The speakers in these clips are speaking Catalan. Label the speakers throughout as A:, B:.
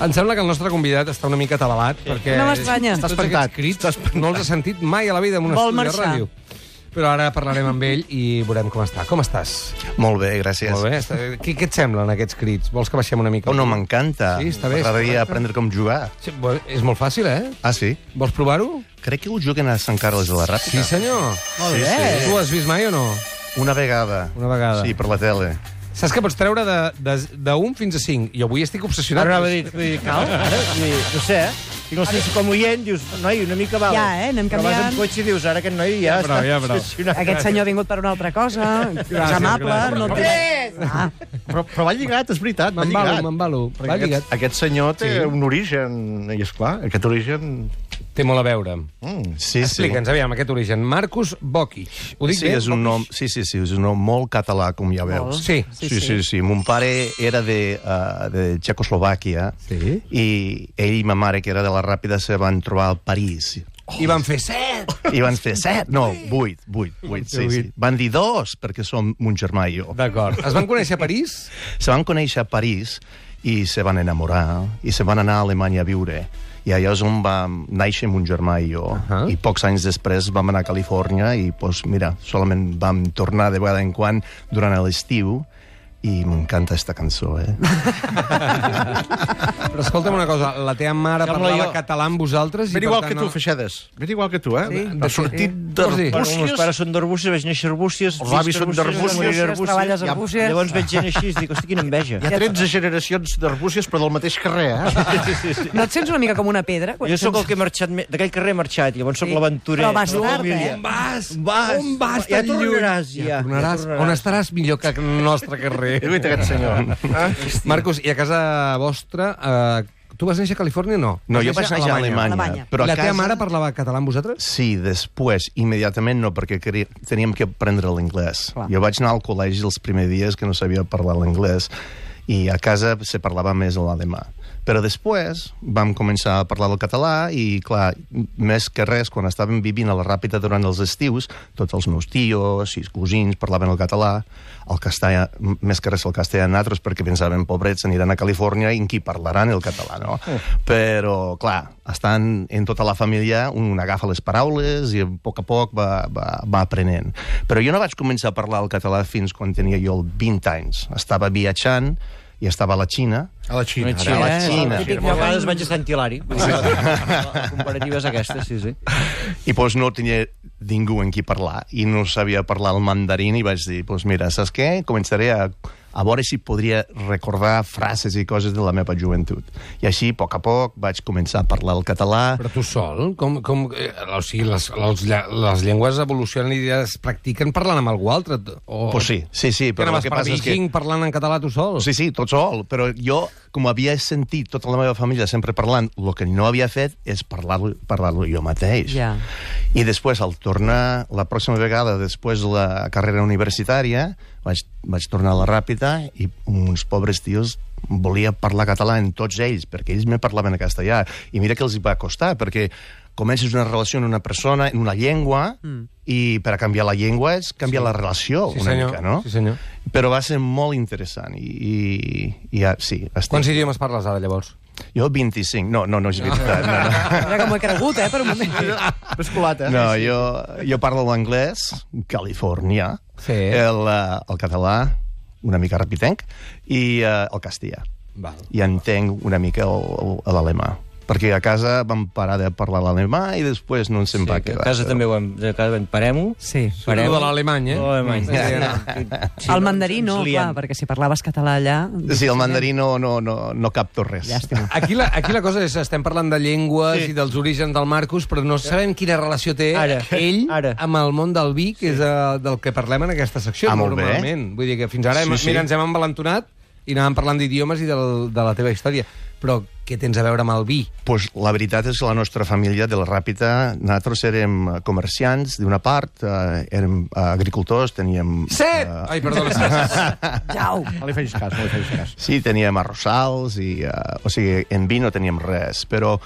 A: Em sembla que el nostre convidat està una mica atabalat, perquè...
B: No m'estranya.
A: Tots
C: Està espantat.
A: aquests Crits, no els ha sentit mai a la vida en un
B: Vol
A: estudi de
B: marxar.
A: ràdio. Però ara parlarem amb ell i veurem com està. Com estàs?
C: Molt bé, gràcies.
A: Molt bé. Està... Què, què et semblen aquests crits? Vols que baixem una mica?
C: Oh, no, m'encanta.
A: Sí, està bé,
C: M'agradaria
A: està bé.
C: aprendre com jugar.
A: Sí, bo- és molt fàcil, eh?
C: Ah, sí?
A: Vols provar-ho?
C: Crec que ho juguen a Sant Carles de la
A: Sí,
C: Ràpita.
A: senyor.
B: Molt
C: Sí,
B: bé.
C: sí.
A: Tu ho has vist mai o no?
C: Una vegada.
A: Una vegada.
C: Sí, per la tele.
A: Saps que pots treure de, de, de 1 fins a 5. Jo avui estic obsessionat.
D: Ara anava a dir, vull dir, cal? Vull dir, no sé, eh? Dic, no sé si com oient dius, noi, una mica val.
B: Ja, eh, anem
D: Però vas
B: canviant.
D: amb cotxe i dius, ara aquest noi
A: Ja,
D: ja,
A: però,
D: està
A: ja, però.
D: obsessionat.
B: Aquest senyor ha vingut per una altra cosa, és
A: Gràcies,
B: amable,
A: gràcies.
B: no té... Ah,
D: Però, però va lligat, és veritat, va
A: M'embalo,
D: lligat.
A: m'embalo. Va lligat.
C: Aquest, aquest senyor té sí. un origen, i és clar, aquest origen...
A: Té molt a veure.
C: Mm, sí,
A: Explica'ns, aviam, aquest origen. Marcus Bokic. Ho dic
C: sí,
A: bé?
C: és un nom, sí, sí, sí, és un nom molt català, com ja veus.
A: Sí.
C: Sí, sí, sí. sí. Mon pare era de, uh, de Txecoslovàquia
A: Sí.
C: i ell i ma mare, que era de la Ràpida, se van trobar al París.
A: Oh. I van fer set.
C: I van fer set, no, vuit, vuit, vuit, sí, sí. Van dir dos, perquè som un germà i jo.
A: D'acord. Es van conèixer a París?
C: Se van conèixer a París i se van enamorar i se van anar a Alemanya a viure. I allà és on vam néixer mon germà i jo. Uh
A: Ahà.
C: -huh. I pocs anys després vam anar a Califòrnia i, pues, mira, solament vam tornar de vegada en quan durant l'estiu i m'encanta esta cançó, eh?
A: Però escolta'm una cosa, la teva mare
D: Sembla
A: parlava
D: jo.
A: català amb vosaltres... i per tant no-
E: Feixedes. Ben igual que tu, eh?
B: Sí.
E: Ha sortit
A: Vols dir?
D: Bueno, els meus pares són d'Arbúcies, vaig néixer a Arbúcies,
E: Els avis són d'Arbúcies,
B: treballes a
D: ja-
B: Arbúcies.
D: Llavors veig gent així i dic, hosti, quina enveja.
E: Hi ha 13 generacions d'arbúcies, però del mateix carrer, eh?
D: Sí, sí, sí.
B: no et sents una mica com una pedra? quan
D: Jo sóc el
B: sents-
D: que he marxat, me- d'aquell carrer he marxat, llavors sóc
B: Sí.
D: l'aventurer.
B: Però vas
D: la
B: tard,
D: família.
B: eh?
A: On vas?
D: Vas.
A: On vas
D: Ja
A: tan lluny?
D: tornaràs, ja. Ja
A: tornaràs.
D: tornaràs.
A: On estaràs millor que el nostre carrer?
E: Lluita aquest senyor. Eh?
A: Marcos, i a casa vostra... Eh, tu vas néixer a Califòrnia o no?
C: No, jo vaig néixer a Alemanya.
B: Alemanya.
C: Però a
A: la
C: casa...
A: teva mare parlava català amb vosaltres?
C: Sí, després, immediatament no, perquè queria- teníem que aprendre l'anglès.
B: Clar.
C: Jo vaig anar al col·legi els primers dies que no sabia parlar l'anglès i a casa se parlava més l'alemà. Però després vam començar a parlar el català i, clar, m- més que res, quan estàvem vivint a la Ràpita durant els estius, tots els meus tios, sis cosins, parlaven el català, el castellà, m- més que res el castellà nosaltres, perquè pensàvem, pobrets, aniran a Califòrnia i en qui parlaran el català, no? Però, clar, estan en tota la família, un agafa les paraules i a poc a poc va, va, va aprenent. Però jo no vaig començar a parlar el català fins quan tenia jo 20 anys. Estava viatjant i estava a la Xina,
E: A la Xina.
C: Xina.
E: ara.
C: la Xina.
D: Sí,
B: Típic
D: a vegades
B: lloc.
D: vaig a Sant Hilari. La comparativa és aquesta, sí, sí.
C: i doncs no tenia ningú en qui parlar, i no sabia parlar el mandarín, i vaig dir, doncs mira, saps què? Començaré a, a veure si podria recordar frases i coses de la meva joventut. I així, a poc a poc, vaig començar a parlar el català,
A: Però tu sol? Com, com, eh, o sigui, les, les, lla- les llengües evolucionen i es practiquen parlant amb algú altre. O...
C: Pues sí, sí, sí,
A: Però
C: però
A: anaves
C: el que
A: per
C: passa és que...
A: Viking parlant en català tu sol?
C: Sí, sí, tot sol, però jo, com havia sentit tota la meva família sempre parlant, el que no havia fet és parlar-lo parlar jo mateix.
B: Ja.
C: I després, al tornar, la pròxima vegada, després de la carrera universitària, vaig, vaig tornar a la Ràpita i uns pobres tios volia parlar català en tots ells, perquè ells me parlaven en castellà. I mira que els hi va costar, perquè comences una relació amb una persona, en una llengua, mm. i per a canviar la llengua és canviar sí. la relació
A: Sí,
C: una
A: senyor.
C: mica, no?
A: Sí, senyor.
C: Però va ser molt interessant i, i, i ja, sí, estic...
A: Quants idiomes parles ara, llavors?
C: Jo 25, no, no, no és veritat, no, no.
B: Mira que m'ho he cregut, eh, per un moment.
D: Ves
A: eh?
D: colat,
C: No, jo, jo parlo l'anglès, californià,
A: Sí.
C: el, eh, el català, una mica repitenc, i eh, el castellà.
A: Val.
C: I entenc una mica el- el- l'alemà. Perquè a casa vam parar de parlar l'alemà i després no ens en
D: Sí,
C: va
D: que
C: quedar.
D: a casa també ho hem... A casa vam... Parem-ho.
B: Sí.
A: Pareu de l'Alemany, eh?
D: L'alemany.
B: El mandarí no, clar, perquè si parlaves català allà...
C: Sí, el mandarí no, no, no, no capto res.
B: Llàstima.
A: Aquí la, aquí la cosa és, estem parlant de llengües sí. i dels orígens del Marcus, però no sabem quina relació té
D: Ara.
A: ell
D: Ara.
A: amb el món del vi, que sí. és eh, del que parlem en aquesta secció,
C: Ah, molt bé.
A: normalment. Vull dir que fins ara, hem,
C: Sí, sí.
A: mira, ens hem envalentonat i anàvem parlant d'idiomes i del, de la teva història. Però què tens a veure amb el vi?
C: pues, la veritat és que la nostra família de la Ràpita, nosaltres érem eh, comerciants d'una part, eh, érem eh, agricultors, teníem...
A: Set!
C: eh,
A: Ah. Ai, perdona. Set.
B: Jau!
E: No li facis cas, no li facis cas.
C: Sí, teníem arrossals i... Uh, o sigui, en vi no eh, teníem res, però...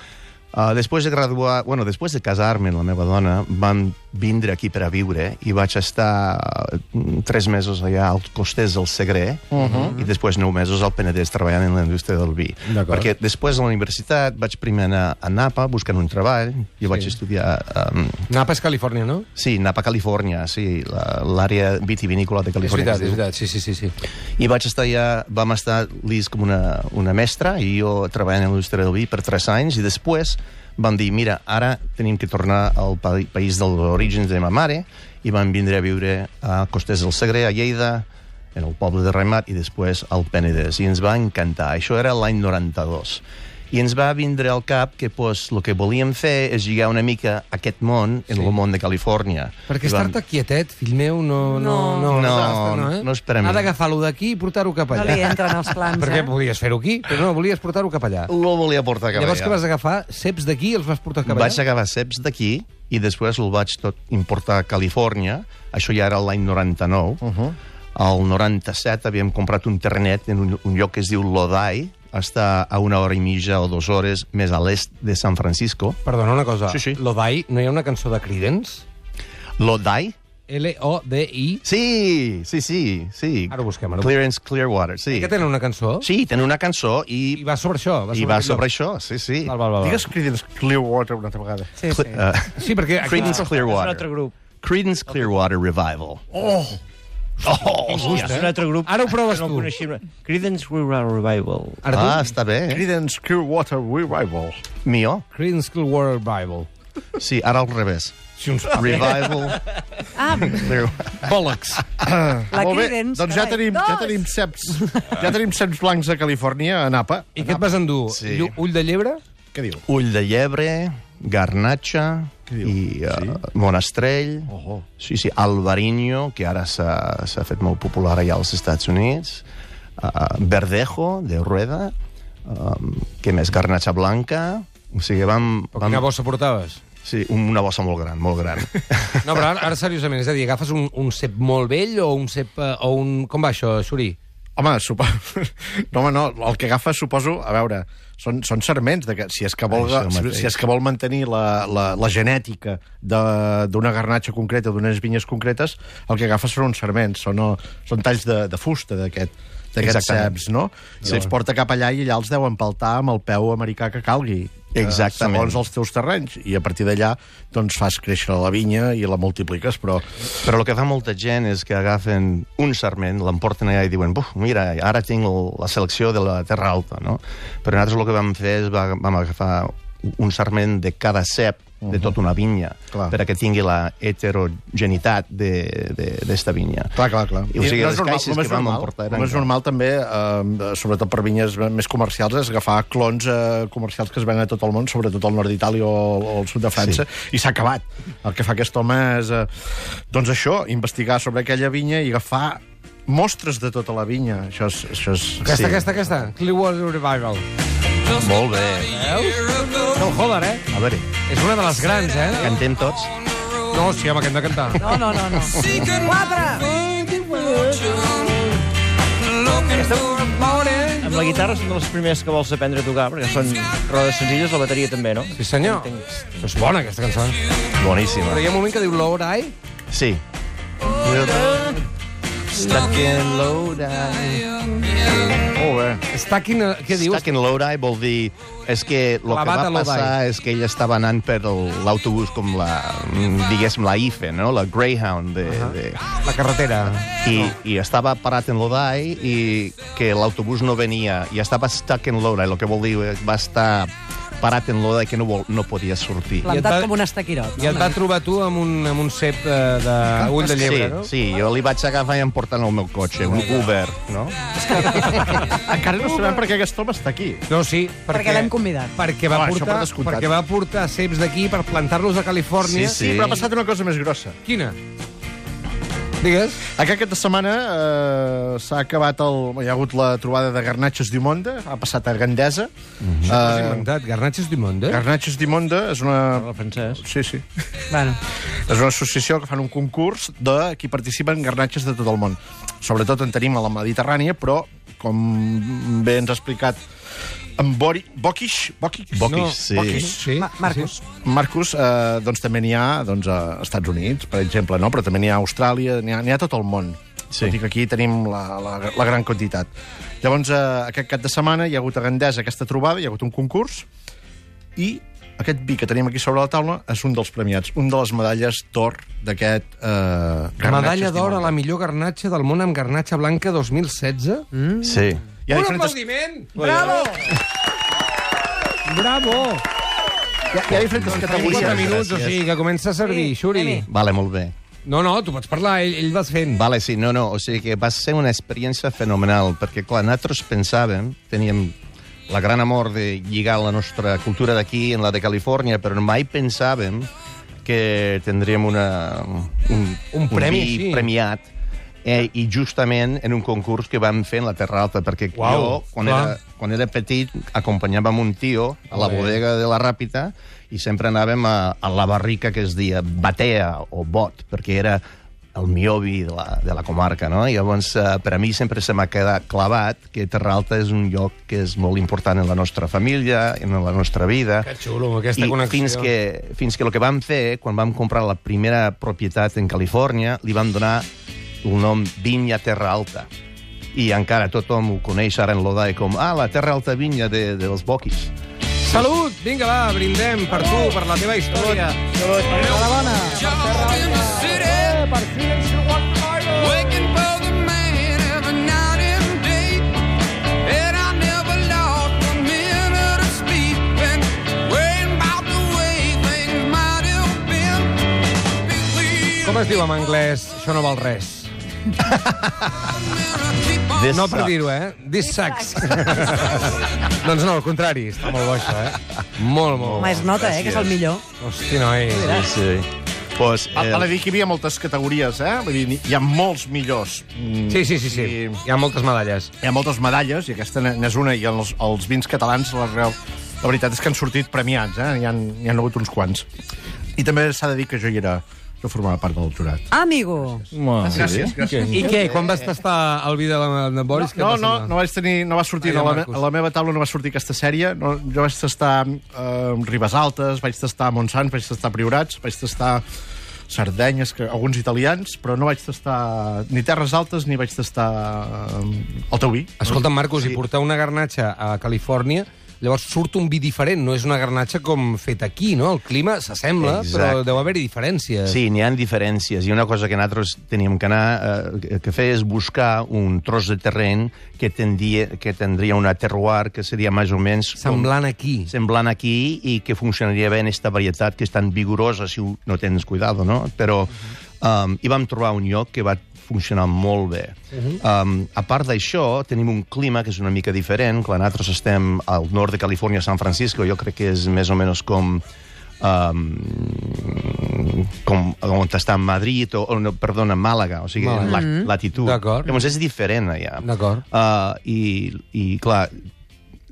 C: Uh, després de graduar, bueno, després de casar-me amb la meva dona, vam vindre aquí per a viure i vaig estar eh, tres mesos allà al costès del Segre uh
A: Mhm.
C: -huh. i després nou mesos al Penedès treballant en la indústria del vi.
F: D'acord.
C: Perquè després de la universitat vaig primer anar a Napa buscant un treball i sí. vaig estudiar... Um,
A: Napa és Califòrnia, no?
C: sí, Napa, Califòrnia, sí, la- l'àrea vitivinícola de
A: És
C: Califòrnia.
A: veritat,
C: que es
A: és
C: diu.
A: veritat, sí, sí, sí. sí.
C: I vaig estar ja, vam estar l'Is com una, una mestra i jo treballant en l'indústria del vi per 3 anys i després vam dir, mira, ara tenim que tornar al pa país dels orígens de ma mare i vam vindre a viure a Costes del Segre, a Lleida, en el poble de Remat i després al Penedès. I ens va encantar. Això era l'any 92. I ens va vindre al cap que pues, el que volíem fer és lligar una mica aquest món en
A: Sí.
C: el món de Califòrnia.
A: Perquè
C: I vam-
A: estar-te quietet, fill meu, no... No, no,
C: No,
A: no, eh?
C: no és per a mi.
A: Ha d'agafar-lo d'aquí i portar-ho cap
B: No li
A: allà.
B: entren els plans,
A: Perquè
B: eh?
A: podies fer-ho aquí, però no, volies portar-ho cap allà.
C: Lo "Ah, volia portar cap
A: Llavors
C: allà.
A: que vas agafar ceps d'aquí i els vas portar cap allà?
C: Vaig agafar ceps d'aquí i després el vaig tot importar a Califòrnia. Això ja era l'any 99. Uh
A: Uh-huh.
C: -huh. El 97 havíem comprat un terrenet en un, un lloc que es diu Lodai, està a una hora i mitja o dues hores més a l'est de San Francisco.
A: Perdona una cosa.
C: Sí, sí.
A: L'Odai, no hi ha una cançó de Creedence?
C: Lodai?
A: L-O-D-I.
C: Sí, sí, sí, sí.
A: Ara ho busquem, ara ho
C: Clearance Clearwater, sí.
A: Que tenen una cançó?
C: Sí, tenen una cançó
A: I
C: i,
A: va sobre això. Va
C: i
A: sobre
C: va
A: aquest
C: sobre
A: lloc.
C: això, sí, sí.
A: Val, val, val.
E: Digues Creedence Clearwater una altra vegada.
B: Sí,
C: Cle-
B: sí.
C: eh,
A: Sí, perquè...
C: Creedence
D: És un altre
C: Clearwater.
D: grup.
C: Creedence Clearwater Revival. Oh! Oh,
D: és un altre grup.
A: Ara ho proves
D: Ah, no
A: tu.
D: Coneixem. Creedence Rural Revival.
A: Ara tu,
C: Ah, està bé. eh?
E: Creedence Clearwater Revival.
C: Millor.
A: Creedence Clearwater Bible.
C: Sí, ara al revés.
A: Si uns
C: Revival.
B: Ah,
C: Clear-
A: bòlegs.
B: la
E: Molt bé,
B: Creedence...
E: doncs ja
B: carai.
E: tenim, ja tenim ceps. Ja tenim ceps blancs a Califòrnia, a Napa.
A: I què et vas endur?
C: Sí.
A: Llu- Ull de llebre?
E: Què diu?
C: Ull de llebre, garnatxa
E: diu?
C: i uh, monestrell.
E: Ojo.
C: Sí, sí, albarinyo, que ara s'ha s'ha fet molt popular allà als Estats Units. Uh, verdejo, de rueda. Um, què més? Garnatxa blanca. O sigui, vam...
A: Però quina
C: vam
A: bossa portaves?
C: sí, una bossa molt gran, molt gran.
A: No, però ara, ara seriosament, és a dir, agafes un, un cep molt vell o un cep... eh, o un... Com va això, Xuri?
E: Home, supo... no, home, no, el que agafa, suposo, a veure, són, són serments, de que, si, és que vol,
C: Això
E: si,
C: mateix.
E: si és que vol mantenir la, la, la genètica de- d'una garnatxa concreta, d'unes vinyes concretes, el que agafa són uns serments, són, no, són talls de, de fusta d'aquest d'aquests
C: Exactament.
E: ceps, no? I els porta cap allà i allà els deu empaltar amb el peu americà que calgui. eh,
C: Exactament.
E: Segons els teus terrenys. I a partir d'allà, doncs, fas créixer la vinya i la multipliques, però...
C: Però el que fa molta gent és que agafen un sarment, l'emporten allà i diuen "Buf, mira, ara tinc el, la selecció de la Terra Alta, no? Però nosaltres el que vam fer és va, vam agafar un sarment de cada cep de tota una vinya,
E: Clar.
C: per a que tingui la heterogenitat d'esta de, de, vinya.
E: Clar, clar, clar.
C: I, o sigui,
E: no és
C: les
E: normal,
C: caixes
E: el més
C: que vam
E: normal,
C: emportar
E: El
C: eren-
E: més normal també, eh, sobretot per vinyes més comercials, és agafar clons eh, comercials que es venen a tot el món, sobretot al nord d'Itàlia o, o al sud de França, sí. i s'ha acabat. El que fa aquest home és, eh, doncs això, investigar sobre aquella vinya i agafar mostres de tota la vinya. Això és... Això és
A: Aquesta, aquesta, aquesta. Clearwater Revival.
C: Molt bé.
A: No ho joder, eh?
C: A veure,
A: És una de les grans, eh?
C: cantem tots?
A: No, sí, home, que hem de cantar.
B: No, no, no, no. Quatre!
D: Amb la guitarra són de les primeres que vols aprendre a tocar, perquè són rodes senzilles, la bateria també, no?
A: Sí, senyor. Això és bona, aquesta cançó. eh? Però
C: Boníssima.
A: hi ha un moment que diu Lower Eye.
C: Sí. Stuck in Lodi. eh.
E: Molt bé.
A: Està aquí... Què dius?
C: Stuck in Lodi vol dir... És que el que
A: Clavat
C: va
A: a Lodi.
C: passar és que ell estava anant per el- l'autobús com la, mm, diguéssim, la IFE, no? La Greyhound de... Uh -huh. de
A: La carretera.
C: i, i estava parat en Lodi i que l'autobús no venia i estava stuck en Lodi, el que vol dir eh, va estar parat en Lodi que no, vol, no podia sortir.
A: I et va-
B: Plantat com un estaquirot.
A: I et va trobar tu amb un, amb un cep eh, de ull de llebre,
C: sí,
A: no?
C: sí, jo li vaig agafar i em portant el meu cotxe, un Uber, no?
E: Encara no sabem per què aquest home està aquí.
A: No, sí, perquè...
B: Perquè l'hem convidat.
A: Perquè va,
E: Ah, això
A: portar,
E: per descomptat.
A: perquè va portar ceps d'aquí per plantar-los a Califòrnia.
C: Sí.
E: Sí, però ha passat una cosa més grossa.
A: Quina? Digues.
E: Acá Aquesta setmana eh, s'ha acabat el... Hi ha hagut la trobada de Garnatxes Dimonda, ha passat a Gandesa.
C: Mm-hmm.
A: Has
E: Mm -hmm.
A: inventat garnatxes du monde?
E: uh, Garnatxes Dimonda és una...
D: El francès.
E: Sí, sí.
B: Bueno,
E: És una associació que fan un concurs de qui participen garnatxes de tot el món. Sobretot en tenim a la Mediterrània, però, com bé ens ha explicat en Bori, Bokish, Bokish,
C: Bokish,
E: no,
C: sí.
E: Bokish.
A: Sí?
B: Ma Marcos.
E: Marcus, eh, doncs també n'hi ha doncs, a Estats Units, per exemple, no? però també n'hi ha a Austràlia, n'hi ha, n'hi ha a tot el món.
C: Sí.
E: Sí. Tot i que aquí tenim la, la, la gran quantitat. Llavors, eh, aquest cap de setmana hi ha hagut a Gandesa aquesta trobada, hi ha hagut un concurs, i aquest vi que tenim aquí sobre la taula és un dels premiats, un de les medalles d'or d'aquest... Eh, garnatge
A: Medalla d'or a
E: estimulant.
A: la millor garnatxa del món amb garnatxa blanca 2016. Mm.
C: Sí.
E: Hi ha diferents,
A: aplaudiment!
B: Bravo!
A: Bravo!
E: hi ha, hi ha diferents
A: Avui 4
E: categories.
A: minuts, o
C: gràcies.
A: sigui que comença a servir,
B: Sí,
A: Xuri.
B: anem-hi.
C: Vale, molt bé.
A: No, no, tu pots parlar, ell, ell vas fent.
C: Vale, sí, no, no, o sigui que va ser una experiència fenomenal, perquè, clar, nosaltres pensàvem, teníem la gran amor de lligar la nostra cultura d'aquí en la de Califòrnia, però mai pensàvem que tindríem una, un,
A: Un premi,
C: vi
A: sí.
C: premiat eh, i justament en un concurs que vam fer en la Terra Alta, perquè
A: Uau,
C: jo, quan
A: clar.
C: era, quan era petit, acompanyàvem un tio a la
A: Ole.
C: bodega de la Ràpita i sempre anàvem a, a la barrica que es deia Batea o Bot, perquè era el miobi de la, de la comarca, no? I llavors, eh, per a mi sempre se m'ha quedat clavat que Terra Alta és un lloc que és molt important en la nostra família, en la nostra vida.
A: Que xulo, aquesta
C: I
A: connexió.
C: Fins que, fins que el que vam fer, quan vam comprar la primera propietat en Califòrnia, li vam donar el nom Vinya Terra Alta. I encara tothom ho coneix ara en l'Odai com ah, la Terra Alta Vinya de, dels Boquis.
A: Salut! Vinga, va, brindem per tu, per la teva història.
F: job in the city. Working for the man every night and day. And I never lost a minute of sleep. And worrying about the way things might have been.
A: Com es diu en anglès? Això no val res.
C: This
A: No per
C: sucks.
A: dir-ho, eh? This sucks. doncs no, al contrari. Està molt bo, això, eh? Molt, molt.
B: Home,
A: bo.
B: es nota, eh, que és el millor.
A: Hosti, noi.
C: Sí, sí. Pues,
E: Ah, Val a
C: eh,
E: dir que hi havia moltes categories, eh? Vull dir, hi ha molts millors. Mm,
A: Sí, sí, sí, sí.
E: i
A: Hi ha moltes medalles.
E: Hi ha moltes medalles, i aquesta n'és una, i els, els vins catalans, la, real, la veritat és que han sortit premiats, eh? N'hi ha, n'hi han hagut uns quants. I també s'ha de dir que jo hi era, jo formava part del jurat.
B: Amigo.
E: Gràcies, gràcies.
A: I què? Quan vas tastar el vi de, la, de Boris? què et
E: No,
A: va
E: no,
A: semblar?
E: no vaig tenir... No va sortir
A: Ai,
E: a, la, me-
A: Marcus.
E: a la meva taula no va sortir aquesta sèrie. No, jo vaig tastar eh, Ribes Altes, vaig tastar Montsants, vaig tastar Priorats, vaig tastar Sardenyes, que, alguns italians, però no vaig tastar ni Terres Altes ni vaig tastar eh, el teu vi.
A: Escolta, Marcos, sí. i portar una garnatxa a Califòrnia, llavors surt un vi diferent, no és una garnatxa com fet aquí, no? El clima s'assembla, però
C: Exacte.
A: deu haver-hi diferències.
C: Sí, n'hi ha diferències. I una cosa que nosaltres teníem que anar, eh, que fer és buscar un tros de terreny que, tendia, que tindria una terroir que seria més o menys... com-
A: Semblant aquí.
C: semblant aquí i que funcionaria bé en aquesta varietat que és tan vigorosa si ho- no tens cuidado, no? Però um, hi vam trobar un lloc que va funcionar molt bé.
A: Uh-huh.
C: um, a part d'això, tenim un clima que és una mica diferent. Quan nosaltres estem al nord de Califòrnia, a San Francisco, jo crec que és més o menys com... Um, com on està Madrid, o, o no, perdona, Màlaga, o sigui,
A: Màlaga. Mm-hmm.
C: la, latitud.
A: D'acord.
C: Llavors Doncs és diferent allà.
A: D'acord.
C: Uh, i, I, clar,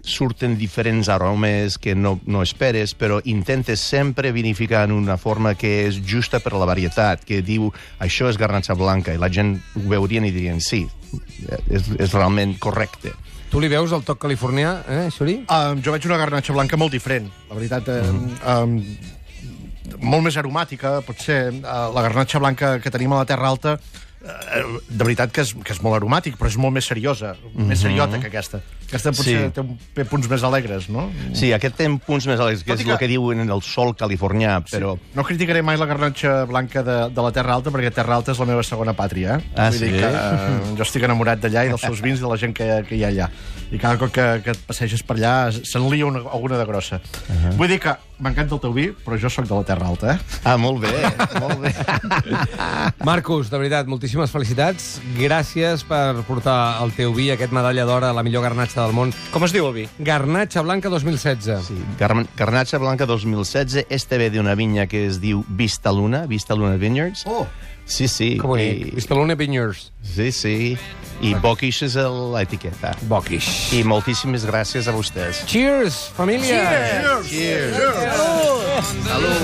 C: surten diferents aromes que no, no esperes, però intentes sempre vinificar en una forma que és justa per a la varietat, que diu això és garnatxa blanca, i la gent ho veurien i dirien sí, és, és realment correcte.
A: Tu li veus el toc californià, eh, Xuri?
E: Um, jo veig una garnatxa blanca molt diferent, la veritat. Mm -hmm. um, molt més aromàtica, potser. Uh, la garnatxa blanca que tenim a la Terra Alta, uh, de veritat que és, que és molt aromàtic, però és molt més seriosa, mm -hmm. més seriota que aquesta. Aquesta potser
C: Sí.
E: sí. té, un, té punts més alegres, no?
C: Sí, aquest té punts més alegres, que
E: Tot
C: és
E: i
C: el
E: que-
C: que diuen en el sol californià, però... Sí.
E: No criticaré mai la garnatxa blanca de, de la Terra Alta, perquè Terra Alta és la meva segona pàtria. Eh?
C: Ah, sí?
E: dir que, eh, jo estic enamorat d'allà i dels seus vins i de la gent que, que hi ha allà. I cada cop que, que et passeges per allà se'n lia una, alguna de grossa. Uh -huh. Vull dir que m'encanta el teu vi, però jo sóc de la Terra Alta. Eh?
C: Ah, molt bé, molt bé.
A: Marcos, de veritat, moltíssimes felicitats. Gràcies per portar el teu vi, aquest medalla d'or a la millor garnatxa del món.
D: Com es diu el vi?
A: Garnatxa Blanca 2016.
C: Sí. Gar- Garnatxa Blanca 2016, este ve d'una vinya que es diu Vista Luna, Vista Luna Vineyards.
E: Oh!
C: Sí, sí.
A: Que bonic. Ah.
C: I-
A: Vistalone Vineyards.
C: Sí, sí. I Bokish és el- l'etiqueta.
A: Boquish.
C: I moltíssimes gràcies a vostès.
A: Cheers, família! Cheers!
C: Cheers.